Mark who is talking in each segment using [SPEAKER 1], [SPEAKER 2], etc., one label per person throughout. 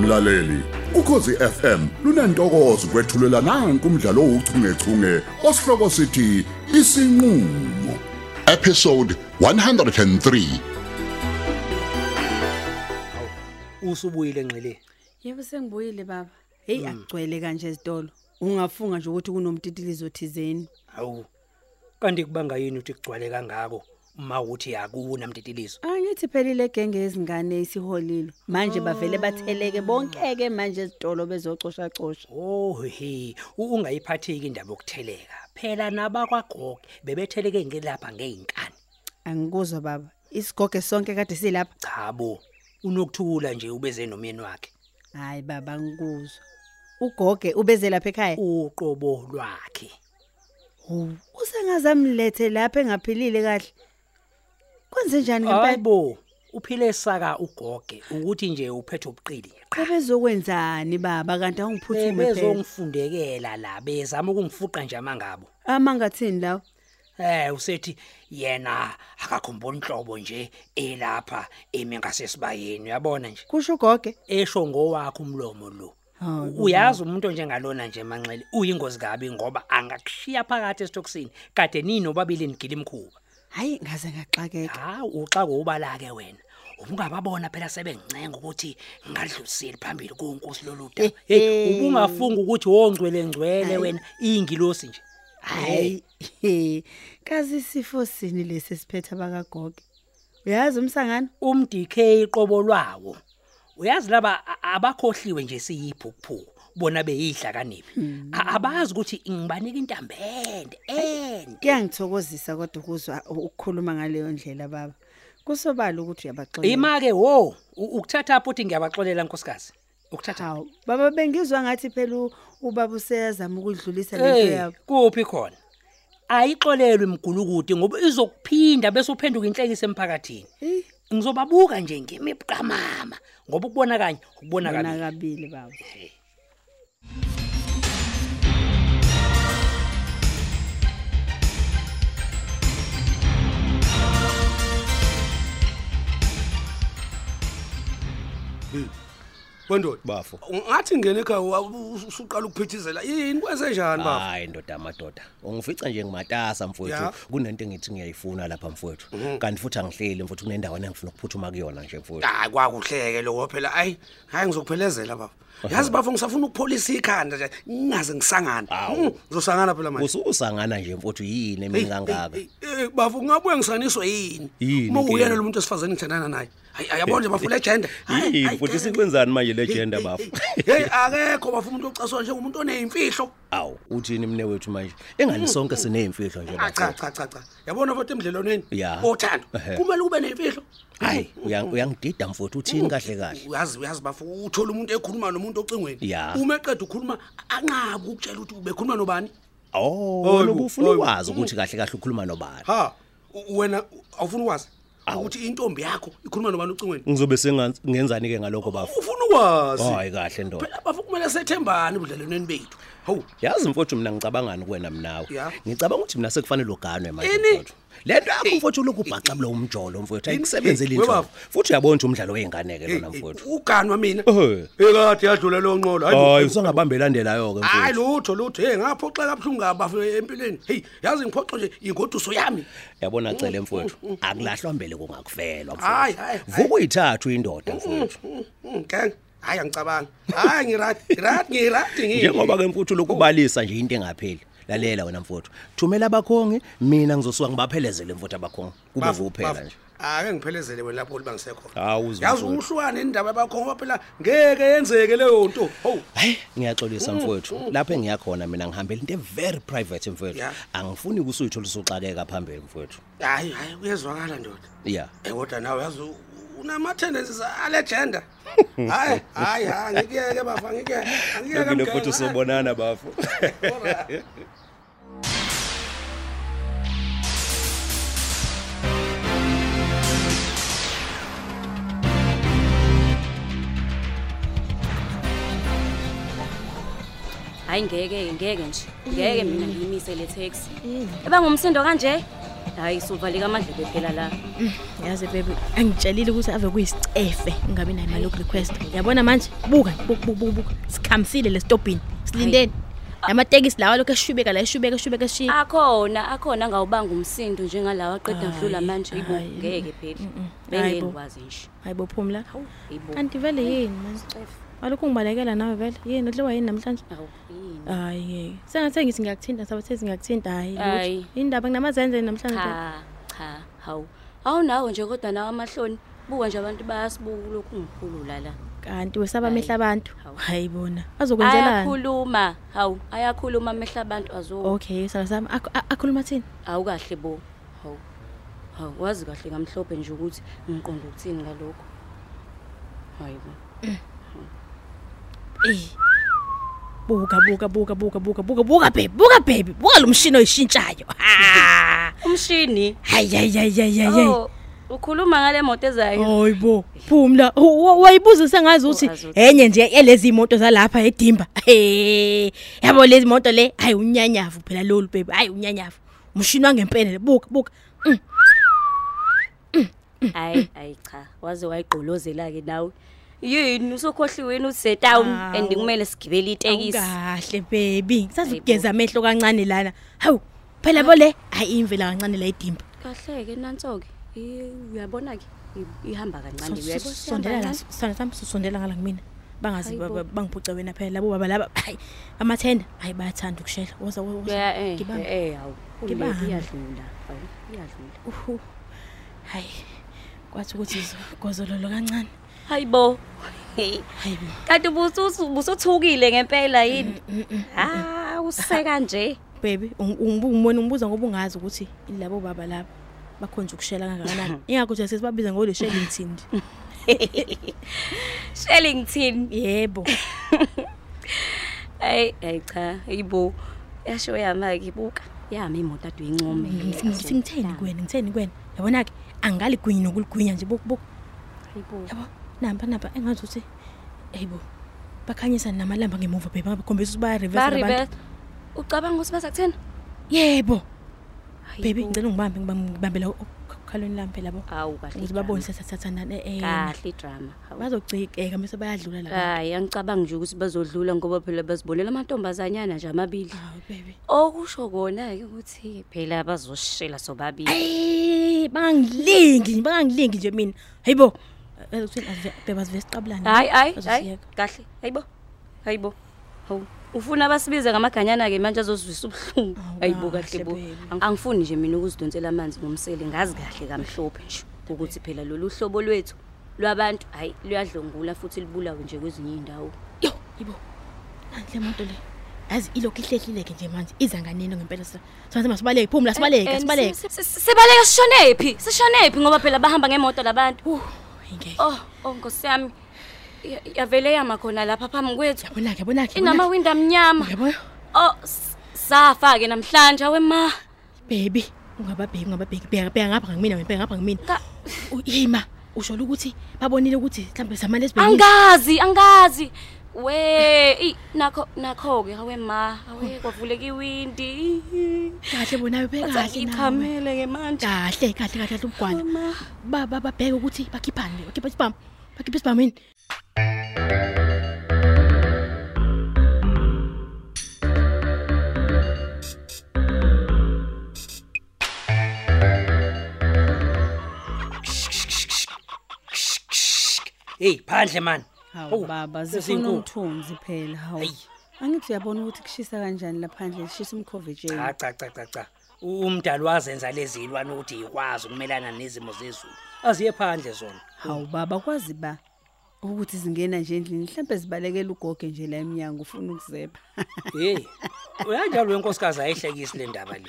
[SPEAKER 1] mlaleli ukhosi FM lunantokozo kwethulela nange umdlalo ouchungechunge osihloko sithi isinqulo episode 103
[SPEAKER 2] usubuyile ngxile
[SPEAKER 3] Yebo sengibuyile baba. Hey akugcwele kanje ezitolo. Ungafunga nje ukuthi kunomtitilizo thizeni.
[SPEAKER 2] hawu kanti kubanga yini ukuthi kugcwale kangako uma uthi akuna mtitilizo
[SPEAKER 3] Angithi phelile genge yezingane isiholile. Manje bavele batheleke bonke ke manje ezitolo bezocosha cosha.
[SPEAKER 2] ohe ungayiphatheki indaba yokutheleka phela nabakwagoge bebetheleke ngelapha ngey'nkani
[SPEAKER 3] Angikuzwa baba. Isigoge sonke kade silapha.
[SPEAKER 2] chabo unokuthula nje ubeze nomyeni wakhe
[SPEAKER 3] Hayi baba ngikuzwa. Ugoge ubeze lapha ekhaya.
[SPEAKER 2] uqobo lwakhe
[SPEAKER 3] Hu, Usengazamlethe lapha engaphilile kahle. Kwenze njani ngempela?
[SPEAKER 2] hayibo uphile saka ugoge ukuthi nje uphethe ubuqili nje qha
[SPEAKER 3] Bebezokwenzani baba kanti awungiphuthume phela.
[SPEAKER 2] bezongifundekela la bezama ukungifuqa nje amangabo
[SPEAKER 3] Amangathini Ah, lawo?
[SPEAKER 2] Eh usethi yena akakhumbula inhlobo nje elapha emi ngasesibayeni uyabona nje
[SPEAKER 3] Kusho ugoge.
[SPEAKER 2] esho ngowakhe umlomo lo
[SPEAKER 3] Hawu,
[SPEAKER 2] U- uyazi umuntu njengalona nje manxele uyingozi kabi ngoba angakushiya phakathi esitokisini kade ninobabili nigila imkhuba
[SPEAKER 3] Hayi ngaze ngaxakeka.
[SPEAKER 2] ha uxa ngobala ke wena ubungababona phela sebengcenga ukuthi ngadlulisile phambili kuNkosi loludaba hey ubungafunga ukuthi wongcwele ngcwele wena ingilosi nje
[SPEAKER 3] Hayi. Kazi sifo sini lesi siphetha bakagogo. Uyazi umsangano?
[SPEAKER 2] umdk iqobo lwawo uyazi laba a- abakhohliwe nje siyiphukuphuku bona beyihlakaniphi A- abazi ukuthi ngibanika intambende ende
[SPEAKER 3] Kuyangithokozisa kodwa ukuzwa ukukhuluma ngaleyo ndlela baba. Kusobala ukuthi uyabaxolela.
[SPEAKER 2] ima-ke wo u- ukuthatha apho uthi ngiyabaxolela nkosikazi ukuthatha
[SPEAKER 3] Hawu, baba bengizwa ngathi phela u- ubaba useyazama ukudlulisa lento
[SPEAKER 2] Eh,
[SPEAKER 3] yabo.
[SPEAKER 2] kuphi khona ayixolelwe imgulukude ngoba izokuphinda bese uphenduka inhlekisa emphakathini
[SPEAKER 3] Eh,
[SPEAKER 2] ngizobabuka nje ngemiqamama ngoba ukubona kanye ukubona
[SPEAKER 3] bona
[SPEAKER 2] kabili
[SPEAKER 3] kabili baba.
[SPEAKER 4] wendod
[SPEAKER 5] bafo
[SPEAKER 4] ngathi ngene ekhaya wa- u- u- usuqala ukuphithizela yini kwenze njani baba
[SPEAKER 5] hayi ndoda amadoda ungifica nje ngimatasa
[SPEAKER 4] Ya. Mhm.
[SPEAKER 5] mfowethu kunento engithi ngiyayifuna lapha mfowethu kanti futhi angihleli mfowethu kunendawana engifuna ukuphuthuma kuyona nje mfowethu
[SPEAKER 4] hayi kwakuhleke loko phela hayi hayi ngizokuphelezela baba yazi bafo ngisafuna ukupholisa ikhanda nje ngingaze ngisangana
[SPEAKER 5] Hawu.
[SPEAKER 4] Mm, ngizosangana phela manje
[SPEAKER 5] ususangana nje mfowethu yini
[SPEAKER 4] Eyi,
[SPEAKER 5] emini kangaka
[SPEAKER 4] eyi, eyi, eyi, bafo kungabuye ngisaniswe yini
[SPEAKER 5] Yini
[SPEAKER 4] uma uyena
[SPEAKER 5] inkinga?
[SPEAKER 4] lo muntu esifazane engithandana naye hayi hayi, yabona nje bafo le jenda
[SPEAKER 5] yini futhi sikwenzani manje le gender bafo
[SPEAKER 4] heyi akekho bafo umuntu ocaswa njengomuntu oneyimfihlo
[SPEAKER 5] awu uthini mne wethu manje
[SPEAKER 4] Mm.
[SPEAKER 5] engani sonke sineyimfihlo nje
[SPEAKER 4] Ah, cha
[SPEAKER 5] bafo
[SPEAKER 4] cha cha cha yabona futhi emdlelwaneni
[SPEAKER 5] Ya.
[SPEAKER 4] othando
[SPEAKER 5] Ehhe.
[SPEAKER 4] kumele ube nemfihlo
[SPEAKER 5] hayi
[SPEAKER 4] Mm.
[SPEAKER 5] uya- uyangidida mfowethu uthini kahle kahle
[SPEAKER 4] uyazi uyazi bafu uthole umuntu ekhuluma nomuntu ocingweni
[SPEAKER 5] Ya.
[SPEAKER 4] uma eqeda ukukhuluma anqabi ukutshela ukuthi bekhuluma nobani
[SPEAKER 5] oh
[SPEAKER 4] Hayibo,
[SPEAKER 5] wena ubufuna
[SPEAKER 4] hayibo.
[SPEAKER 5] ukwazi ukuthi kahle kahle ukhuluma nobani
[SPEAKER 4] Mm. ha u- wena u- awufuna ukwazi
[SPEAKER 5] Awu.
[SPEAKER 4] ukuthi intombi yakho ikhuluma nobani ocingweni
[SPEAKER 5] ngizobe sengenzani ke ngalokho bafo
[SPEAKER 4] ufuna ukwazi
[SPEAKER 5] hayi kahle ndoda
[SPEAKER 4] phela bafu kumele sethembane ebudlelwaneni bethu hawu
[SPEAKER 5] yazi mfowethu mina ngicabangani kuwena mnawe
[SPEAKER 4] Ya.
[SPEAKER 5] ngicabanga ukuthi mina sekufanele uganwe manje
[SPEAKER 4] Ini?
[SPEAKER 5] mfowethu le nto yakho mfowethu ulokhu ubhaxabula umjolo mfowethu
[SPEAKER 4] Ini?
[SPEAKER 5] ayikusebenzeli
[SPEAKER 4] Hey,
[SPEAKER 5] inhlobo
[SPEAKER 4] webaba.
[SPEAKER 5] futhi uyabona ukuthi umdlalo wey'nganeke lona
[SPEAKER 4] Eh, eh,
[SPEAKER 5] mfowethu
[SPEAKER 4] uganwa mina
[SPEAKER 5] Ehhe.
[SPEAKER 4] ekade yadlula leyo nqolo hayi bo-
[SPEAKER 5] hayi
[SPEAKER 4] hayi bo.
[SPEAKER 5] usangabambe elandelayo-ke
[SPEAKER 4] Hayi,
[SPEAKER 5] mfowethu
[SPEAKER 4] lutho lutho hey ngaphoxeka kabuhlungu kabafu empilweni heyi yazi ngiphoxa nje ingoduso yami
[SPEAKER 5] yabona cele mfowethu akulahlwa mbele kungakufelwa
[SPEAKER 4] Mm, Hayi,
[SPEAKER 5] mfowethu
[SPEAKER 4] hayi, Mm, hayi.
[SPEAKER 5] vuka uyithathu indoda mfowethu
[SPEAKER 4] ngenge Hm, hayi angicabangi hayi ngirati ngirati ngirati
[SPEAKER 5] njengoba-ke mfowethu lokhu ubalisa nje into engapheli lalela wena mfowethu thumela abakhongi mina ngizosuka ngibaphelezele mfowethu abakhongi kube
[SPEAKER 4] Bafu,
[SPEAKER 5] vuphela
[SPEAKER 4] bafu. Ah,
[SPEAKER 5] nje
[SPEAKER 4] ake ngiphelezele wena lapho libangisekhona
[SPEAKER 5] Hawu, uzwe
[SPEAKER 4] yazi
[SPEAKER 5] mfowethu.
[SPEAKER 4] uhlukane indaba yabakhona phela ngeke yenzeke leyo nto hawu
[SPEAKER 5] hayi ngiyaxolisa mfowethu lapho engiyakhona mina ngihambela into e-very private mfowethu
[SPEAKER 4] Ya.
[SPEAKER 5] angifuni kusuyithola usuxakeka phambili mfowethu
[SPEAKER 4] hayi hayi kuyezwakala ndoda
[SPEAKER 5] ya
[SPEAKER 4] Eh, kodwa nawe yazi u- unama-tendencies alejenda hayi hayi hayi ngikuyeke bafa ngikuyeke angikuyeke
[SPEAKER 5] lokile
[SPEAKER 4] mgenge,
[SPEAKER 5] futhi
[SPEAKER 4] hayi.
[SPEAKER 5] sobonana bafo
[SPEAKER 6] Mm.
[SPEAKER 7] hayi ngeke ngeke nje ngeke mina ngiyimise le taxi eba ngumsindo kanje hhayi suvaleka amadlebe phela la
[SPEAKER 6] yazi bebe angitshelile ukuthi ave kuyisicefe ngingabi nayo imali yokurequest yabona manje buka nje, buka buka, buka buka sikhamisile lesitobhini silindeni namatekisi lawa lokhu eshubeka la eshubeka eshubeka eshiya
[SPEAKER 7] akhona akhona angawubanga umsindo njengalawa aqeda mhlula
[SPEAKER 6] Hhayi,
[SPEAKER 7] manje ibo
[SPEAKER 6] hhayi.
[SPEAKER 7] ngeke phela
[SPEAKER 6] Mm, mm. Hhayi bo.
[SPEAKER 7] bengeke wazi nje
[SPEAKER 6] hayi bophumla
[SPEAKER 7] hawu ibo
[SPEAKER 6] Ah. kanti vele yini manje walokhu ungibalekela nawe vele yini udliwa yini namhlanje
[SPEAKER 7] hawu yini
[SPEAKER 6] hayi ngeke sengathe ngithi ngiyakuthinta sabathezi ngiyakuthinta hayi
[SPEAKER 7] Hhayi.
[SPEAKER 6] lutho. indaba nginamazenze namhlanje phela.
[SPEAKER 7] cha cha hawu awunawo nje kodwa nawe amahloni buka nje abantu bayasibuka lokhu ngikhulula la
[SPEAKER 6] kanti wesaba
[SPEAKER 7] Hhayi.
[SPEAKER 6] amehla abantu
[SPEAKER 7] Hawu.
[SPEAKER 6] hayi bona bazokwenzelani
[SPEAKER 7] ayakhuluma hawu ayakhuluma amehla abantu azo
[SPEAKER 6] okay sana sami Akh- a- akhuluma thini
[SPEAKER 7] awukahle bo hawu hawu wazi kahle ngamhlophe nje ukuthi ngiqonda ukuthini ngalokho hayi bo
[SPEAKER 6] Eh. buka buka buka buka buka buka buka baby buka baby buka lo mshini oyishintshayo Ha!
[SPEAKER 7] umshini
[SPEAKER 6] hayi hayi hayi hayi hayi
[SPEAKER 7] oh ukhuluma ngale moto
[SPEAKER 6] Oh.
[SPEAKER 7] ezayo
[SPEAKER 6] Hayibo, phumla. U- wa- Wayibuza sengazi ukuthi
[SPEAKER 7] azuthi.
[SPEAKER 6] enye nje yalezi moto zalapha eDimba. Eh, yabo lezi moto le hayi unyanyavu phela lolu baby. Hayi unyanyavu. Umshini wangempela le. buka buka.
[SPEAKER 7] hayi hayi cha waze wayigqolozela ke nawe yini usokhohliwe yini uthi town
[SPEAKER 6] Hawu.
[SPEAKER 7] and kumele sigibele itekisi
[SPEAKER 6] Kahle baby. Ngisazi
[SPEAKER 7] Hayibo.
[SPEAKER 6] ukugeza amehlo kancane lana. Hawu, phela bo le hayi imvela kancane la eDimba.
[SPEAKER 7] kahle ke nanso ke uyabona ke ihamba kancane
[SPEAKER 6] Sus-
[SPEAKER 7] uyabona
[SPEAKER 6] sus- sondela la sana sami susondela ngala kumina bangazi
[SPEAKER 7] Hayibo.
[SPEAKER 6] ba- ba- bangiphuce wena phela labo baba laba hayi amathenda hayi bayathanda ukushela woza woza- woza.
[SPEAKER 7] Ya eh
[SPEAKER 6] Ngibambe.
[SPEAKER 7] eh hawu
[SPEAKER 6] Ngibambe.
[SPEAKER 7] ulebe iyadlula hawu iyadlula
[SPEAKER 6] Uhu.
[SPEAKER 7] eh.
[SPEAKER 6] hayi kwathi ukuthi gozololo kancane
[SPEAKER 7] hayibo
[SPEAKER 6] hayi bo.
[SPEAKER 7] kanti bususu busuthukile ngempela yini ah useka nje
[SPEAKER 6] baby ungi- ungibu- ungibona ungibuza ngoba ungazi ukuthi labo baba laba bakhonje ukushela kangakanani ingakho nje sesibabiza ngolesheli nthindi
[SPEAKER 7] Shellington
[SPEAKER 6] yebo
[SPEAKER 7] Ay ay cha ibo yasho yama kibuka yami imoto ade uyincome
[SPEAKER 6] ngithi ngitheni kwena ngitheni kwena yabona-ke angingaligwinyi nokuligwinya nje bokuboku
[SPEAKER 7] ibo
[SPEAKER 6] yabo namba namba engazi ukuthi eyibo bakhanyisa namalamba ngemuva bebe ngabakhombisa ukuthi
[SPEAKER 7] bari
[SPEAKER 6] bayareverse
[SPEAKER 7] beth ucabanga ukuthi bazakuthena
[SPEAKER 6] yebo
[SPEAKER 7] Hayi
[SPEAKER 6] bebe
[SPEAKER 7] bo.
[SPEAKER 6] ngicela ungibambe ngibam- ngibambela okhalweni lami phela bo
[SPEAKER 7] Awu, kahle
[SPEAKER 6] ukuthi babone
[SPEAKER 7] drama.
[SPEAKER 6] sasathathanani
[SPEAKER 7] kahle idrama hawu
[SPEAKER 6] eh, bazogcikeka bese bayadlula la
[SPEAKER 7] hayi angicabangi nje ukuthi bazodlula ngoba phela bazibonela amantombazanyana nje amabili
[SPEAKER 6] hawu bebe
[SPEAKER 7] okusho kona ke ukuthi phela bazoshela sobabili
[SPEAKER 6] Eh, bangangilingi bangangilingi nje mina hayibo ezokuthini azive- bebe azive siqabulana
[SPEAKER 7] hayi hayi hayi
[SPEAKER 6] Bazosiyeka.
[SPEAKER 7] kahle hayibo hayibo hawu ufuna basibize ngamaganyana-ke manje azozwisa ubuhlungu
[SPEAKER 6] Awu,
[SPEAKER 7] hayibo
[SPEAKER 6] kahle,
[SPEAKER 7] kahle bo
[SPEAKER 6] baby.
[SPEAKER 7] Ang- angifuni nje mina ukuzidonsela amanzi ngomsele ngazi kahle kamhlophe nje ukuthi phela lolu hlobo lwethu lwabantu hhayi luyadlongula futhi libulawe nje kwezinye iy'ndawo
[SPEAKER 6] yo yibo nanhle moto le yazi ilokhu ihlehlileke nje manje iza nganeno ngempela sa- sonke masibaleke phumula sibaleke
[SPEAKER 7] And
[SPEAKER 6] sibaleke
[SPEAKER 7] si- si- si- sibaleke sishonephi sishonephi ngoba phela bahamba ngemoto labantu
[SPEAKER 6] Uh, hayi ngeke
[SPEAKER 7] oh oh nkosi yami Ya- yavele yama khona lapha phambi kwethu
[SPEAKER 6] yabonake yabonake
[SPEAKER 7] inamawindi amnyama
[SPEAKER 6] yabona
[SPEAKER 7] oh s- safa-ke namhlanje wema
[SPEAKER 6] baby ungababheki ungababheki bheka bheka ngapha ngakumina wena bheka ngapha ngakumina U- yima usho ukuthi babonile ukuthi mhlawumbe samane sibhekile
[SPEAKER 7] angazi angazi we i- nakho nakho-ke awe ma awe kwavuleka iwindi
[SPEAKER 6] kahle bona bebeka kahle nawe.
[SPEAKER 7] ngichamele ngemanje
[SPEAKER 6] kahle kahle kahle kahle ubugwala
[SPEAKER 7] Wema.
[SPEAKER 6] baba babheke ukuthi bakhiphani bakhipha isibhamu bakhipha isibhamu yini
[SPEAKER 2] hey phandle mani
[SPEAKER 3] hawu baba zifuna umthunzi phela hawu
[SPEAKER 2] Hayi.
[SPEAKER 3] angithi uyabona ukuthi kushisa kanjani laphandle shisa umkhovetsheni
[SPEAKER 2] cha cha cha cha cha umdali wazenza lezi zilwane ukuthi ikwazi ukumelana nezimo zezulu aziye phandle zona
[SPEAKER 3] hawu baba kwazi ba ukuthi zingena nje endlini mhlawumbe zibalekela ugoge nje la emnyango ufuna ukuzepha
[SPEAKER 2] hey uyanjalo wenkosikazi ayihlekisi le ndaba le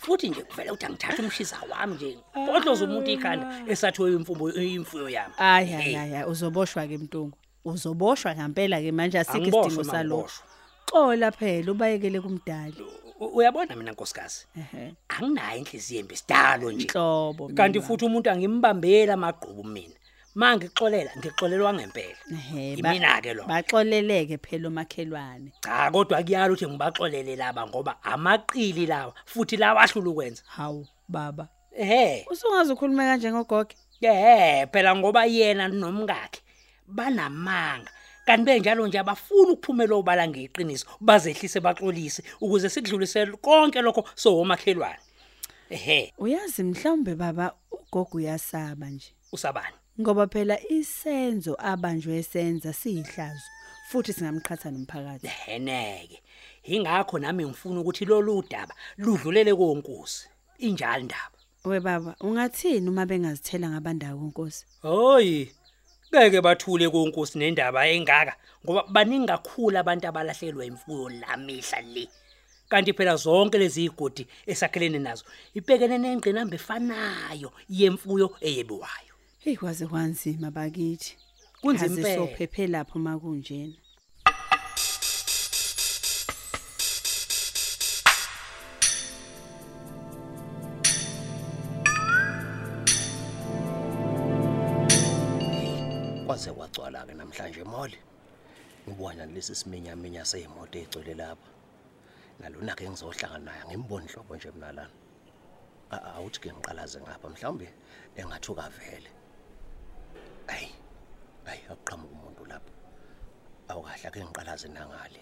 [SPEAKER 2] futhi nje kuvele ukuthi angithatha umshisa wami nje bodloza umuntu ikhanda esathiwe imfumbo imfuyo yami
[SPEAKER 3] hayi
[SPEAKER 2] Hey,
[SPEAKER 3] hayi hayi hayi uzoboshwa-ke mtungu uzoboshwa ngampela-ke manje asikho
[SPEAKER 2] Angiboshwa
[SPEAKER 3] isidingo
[SPEAKER 2] ma,
[SPEAKER 3] salokho
[SPEAKER 2] ngiboshwa.
[SPEAKER 3] xola phela ubayekele kumdali
[SPEAKER 2] u- uyabona mina nkosikazi
[SPEAKER 3] Ehhe.
[SPEAKER 2] anginayo inhliziyo embi sidalo nje
[SPEAKER 3] Nhlobo mina.
[SPEAKER 2] kanti futhi umuntu angimbambeli amagqubu mina ma ngixolela ngixolelwa ngempela
[SPEAKER 3] Ehhe, ba-
[SPEAKER 2] imina-ke lo
[SPEAKER 3] baxoleleke phela omakhelwane
[SPEAKER 2] cha kodwa kuyalo ukuthi ngibaxolele laba ngoba amaqili lawa futhi lawa ahlula ukwenza
[SPEAKER 3] hawu baba
[SPEAKER 2] ehe
[SPEAKER 3] usungaze ukhulume kanje ngogogo
[SPEAKER 2] ye phela ngoba yena nomkakhe banamanga kanti benjalo nje abafuni ukuphumela obala ngeqiniso bazehlise baxolise ukuze sikudlulisele konke lokho sowomakhelwane ehe
[SPEAKER 3] uyazi mhlawumbe baba ugogo uyasaba nje
[SPEAKER 2] usabani
[SPEAKER 3] ngoba phela isenzo abanjwe esenza siyihlazo futhi singamqhatha nomphakathi
[SPEAKER 2] eneke ingakho nami ngifuna ukuthi lolu daba ludlulele konkosi injalo indaba
[SPEAKER 3] we baba ungathini uma bengazithela ngabandawo konkosi
[SPEAKER 2] hoyi ngeke bathule konkosi nendaba engaka ngoba baningi kakhulu abantu abalahlelwa imfuyo lamihla le kanti phela zonke lezi igodi esakhelene nazo ibhekene nengqinamba efanayo yemfuyo eyebiwayo
[SPEAKER 3] heyi kwaze kwanzima bakithi
[SPEAKER 2] Kunzima impela.
[SPEAKER 3] sophephe lapho uma kunjena
[SPEAKER 5] kwaze kwagcwala-ke namhlanje mole ngibona lesi siminyaminya sey'moto ey'gcwele lapha nalona-ke engizohlangana naye ngimboni hlobo nje mna lana A- awuthi ke ngiqalaze ngapha mhlawumbe engathuka vele ayi ayi akuqhamuka umuntu lapha awukahle ake ngiqalaze nangale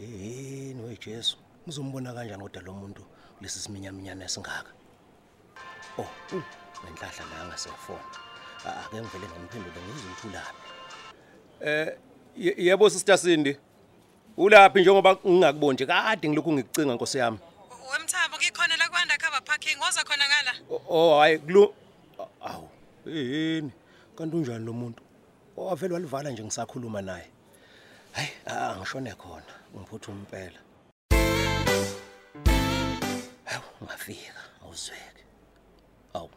[SPEAKER 5] yeyini wejesu ngizombona kanjani kodwa lo muntu lesi siminyaminyana esingaka Oh, uh, ngenhlahla nanga siyafona. Ake ngivele ngimphendule ngize ukuthi ulaphi. Eh, yebo sister Sindi. Ulaphi njengoba ngingakuboni nje kade ngilokhu ngikucinga Nkosi yami.
[SPEAKER 8] wemthabo ngikhona la ku-undercover parking woza khona ngala
[SPEAKER 5] O- Oh, hayi kulu awu. Yini? Kanti unjani lo muntu? Owavela walivala nje ngisakhuluma naye. Hayi, ah, ngishone khona, ngiphuthuma impela. Hawu, ngafika, awuzweke. Awu.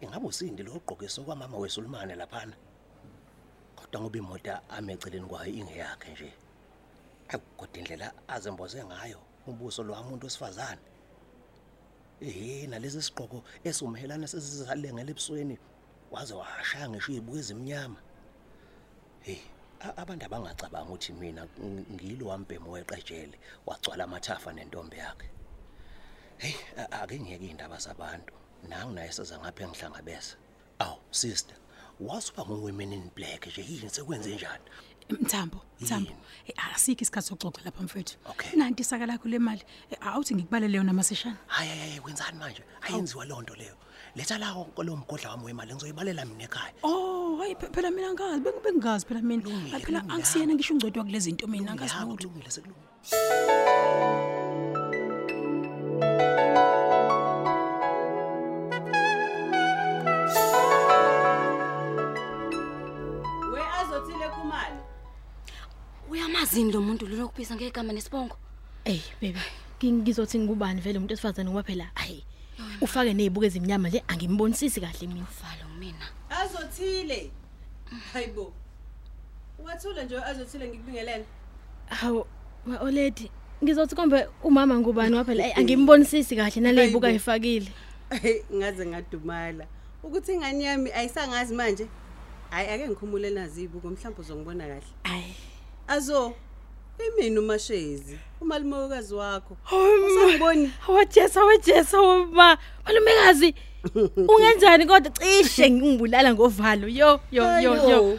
[SPEAKER 5] Ingabe usindi lo ogqokiswe kwamama wesulumane laphana? Kodwa ngoba imoto ameceleni kwayo ingeyakhe nje. Akukodwa indlela azemboze ngayo ubuso lo umuntu osifazane. Eh, nalesi sigqoko esumhelana sesizalengela ebusweni waze washaya ngisho izibuko ezimnyama. Hey, a- abantu abangacabanga ukuthi mina ng- ngilo wambhemo weqejele wagcwala amathafa nentombi yakhe. Hey, a- ake ngiyeke indaba zabantu. Nangu naye seza ngapha engihlangabeza. Aw, sister, wasuba ngowomen in black nje yini sekwenze njani?
[SPEAKER 8] mthambo mthambo Eh, asikho isikhathi sokuxoxa lapha mfethu
[SPEAKER 5] Okay.
[SPEAKER 8] nanti isaka lakho le mali Eh, awuthi ngikubalele yona maseshana
[SPEAKER 5] Hayi hayi kwenzani manje? Ayenziwa lonto leyo. Letha la lo mgodla wami wemali ngizoyibalela mina ekhaya.
[SPEAKER 8] oh hayi phe- phela mina ngazi bengi- bengingazi phela mina Hayi, phela
[SPEAKER 5] kulungile.
[SPEAKER 8] angisiyena ngisho ungcwetwa kule zinto mina angazi
[SPEAKER 5] Yabo,
[SPEAKER 8] lutho
[SPEAKER 5] kulungile sekulungile.
[SPEAKER 3] we azothile khumalo
[SPEAKER 7] uyamazini lo muntu lona okubiza ngegama nesibongo
[SPEAKER 6] Ey baby, ngi- ngizothi ngubani vele umuntu esifazane ngoba phela hayi. Ufake nezibuko ezimnyama nje angimbonisisi kahle mina.
[SPEAKER 7] valo mina
[SPEAKER 9] azothile hayibo wathule nje azothile ngikubingelele
[SPEAKER 6] Hawu, ma oledi. Ngizothi kombe umama ngubani ngoba phela hayi angimbonisisi kahle nalezibuko
[SPEAKER 9] Hayi bo.
[SPEAKER 6] ayifakile.
[SPEAKER 9] Ehe, ngaze ngadumala ukuthi ingane yami ayisangazi manje hayi ake ngikhumule nazo iyibuko mhlawumbe uzongibona kahle
[SPEAKER 6] Hayi.
[SPEAKER 9] azo imini umashezi umalumekazi wakho usangiboni
[SPEAKER 6] Um, Wajesa wajesa woba. Malumekazi. Ungenjani kodwa cishe ngingibulala ngovalo. Yo yo yo yo.
[SPEAKER 9] Ayo,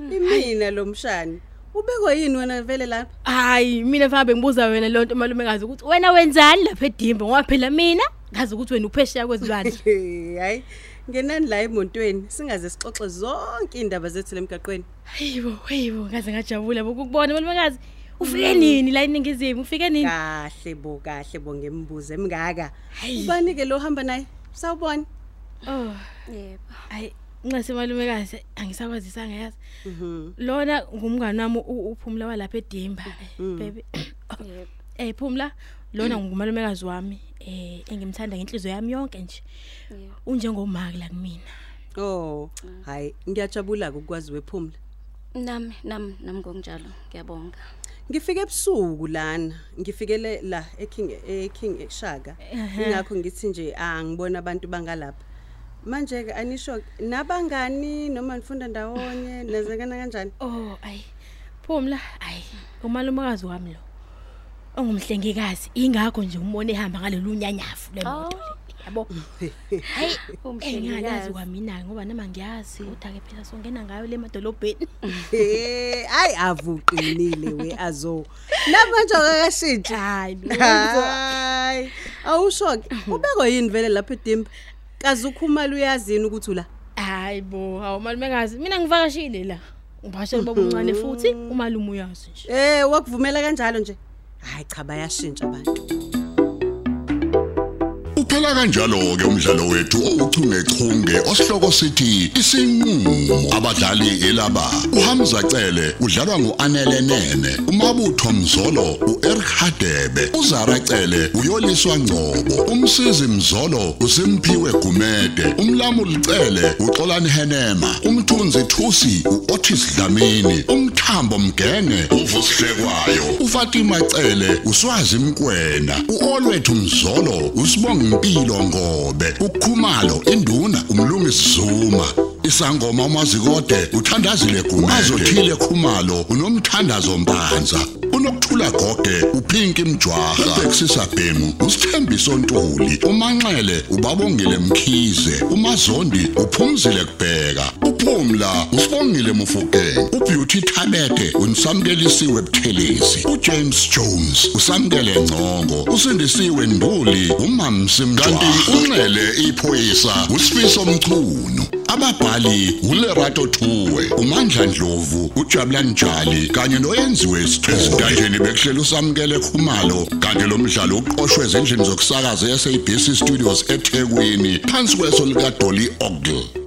[SPEAKER 9] imina lo mshani ubekwe yini wena vele lapha
[SPEAKER 6] Hayi mina mfana bengibuza wena lonto malumekazi ukuthi wena wenzani lapha edimba ngoba phela mina ngazi ukuthi wena uphesheya kwezilwane.
[SPEAKER 9] Hey, hayi ngenani la emontweni singaze sixoxe zonke indaba zethu lemgaqweni
[SPEAKER 6] Hayibo, hayibo, ngaze ngajabula ukubona malumekazi. Ufike nini la eningizimu? Ufike nini?
[SPEAKER 9] kahle bo kahle bo ngembuzo emngaka
[SPEAKER 6] Hayi.
[SPEAKER 9] ubani-ke lo hamba naye sawubona
[SPEAKER 6] Oh,
[SPEAKER 7] yebo
[SPEAKER 6] ayi nxese malumekazi angisakwazisanga yazi. Lona ngumngani wami u- uphumla walapha eDimba. Baby.
[SPEAKER 7] yebo
[SPEAKER 6] Eh Phumla, lona ngumalumekazi wami eh engimthanda ngenhliziyo yami yonke nje.
[SPEAKER 7] yebo
[SPEAKER 6] Unjengomaki la kumina.
[SPEAKER 9] oh hayi ngiyajabula-ke ukwazi wephumla
[SPEAKER 7] nami nami nami ngokunjalo ngiyabonga
[SPEAKER 9] ngifike ebusuku lana ngifikele la eking eking eshaka ingakho ngithi nje angibona abantu bangalapha manje-ke anisho nabangani noma nifunda ndawonye nazekana kanjani
[SPEAKER 6] Oh, ayi. Phumla, ayi. Umalumekazi wami lo. ongumhlengikazi ingakho nje umbone ehamba ngalolu nyanyafu lemoto
[SPEAKER 7] Oh.
[SPEAKER 6] le, yabo hayi engalazi kwamina ngoba nama ngiyazi kodwa ke phela songena ngayo le madolobheni
[SPEAKER 9] Eh, hayi avuqinile we azo. Namanje akashintshi.
[SPEAKER 6] hayi
[SPEAKER 9] Hayi. Awushoki. Ubekho yini vele lapha edimba? Kaze ukhumala uyazini ukuthi ula.
[SPEAKER 6] hayi bo hawo malumekazi mina ngivakashile la ngivakashele baba uncane futhi umalume uyazi nje
[SPEAKER 9] Eh, wakuvumela kanjalo nje. Hayi cha bayashintsha abantu.
[SPEAKER 1] Uphela kanjalo ke umdlalo wethu ouchungechunge osihloko sithi isinqulo abadlali elaba uHamza Cele udlalwa nguAnele Nene uMabutho Mzolo uEric Hadebe uZara Cele uyoliswa Ngcobo umsizi Mzolo uSimpiwe Gumede umlamuli Cele uXolani Henema umthunzi Thusi uOtis Dlamini umthambo Mgene uvusihlekwayo uFatima Cele uswazi Mkwena uOlwethu Mzolo usibonga impilo ngobe ukhumalo induna umlungisi Zuma isangoma umazikode uthandazile gume azothile khumalo unomthandazo mpanza unokuthula gogwe uphinki mjwaha ubexisa bhemu usithembiso ntuli umanxele ubabongile mkhize umazondi uphumzile kubheka uphumla usibongile mufukeni ubeauty thabete unisamkelisiwe buthelezi ujames jones usamkele ngcongo usindisiwe nduli umamsimkanti unxele iphoyisa usifiso mchunu ababhali ulerato thuwe umandla ndlovu ujabulani njali kanye noyenziwe esiqezintanjeni bekuhlela usamkele khumalo kanti lo mdlalo uqoshwe ezindlini zokusakaza i-sabc studios ethekwini phansi kweso likadoli ogle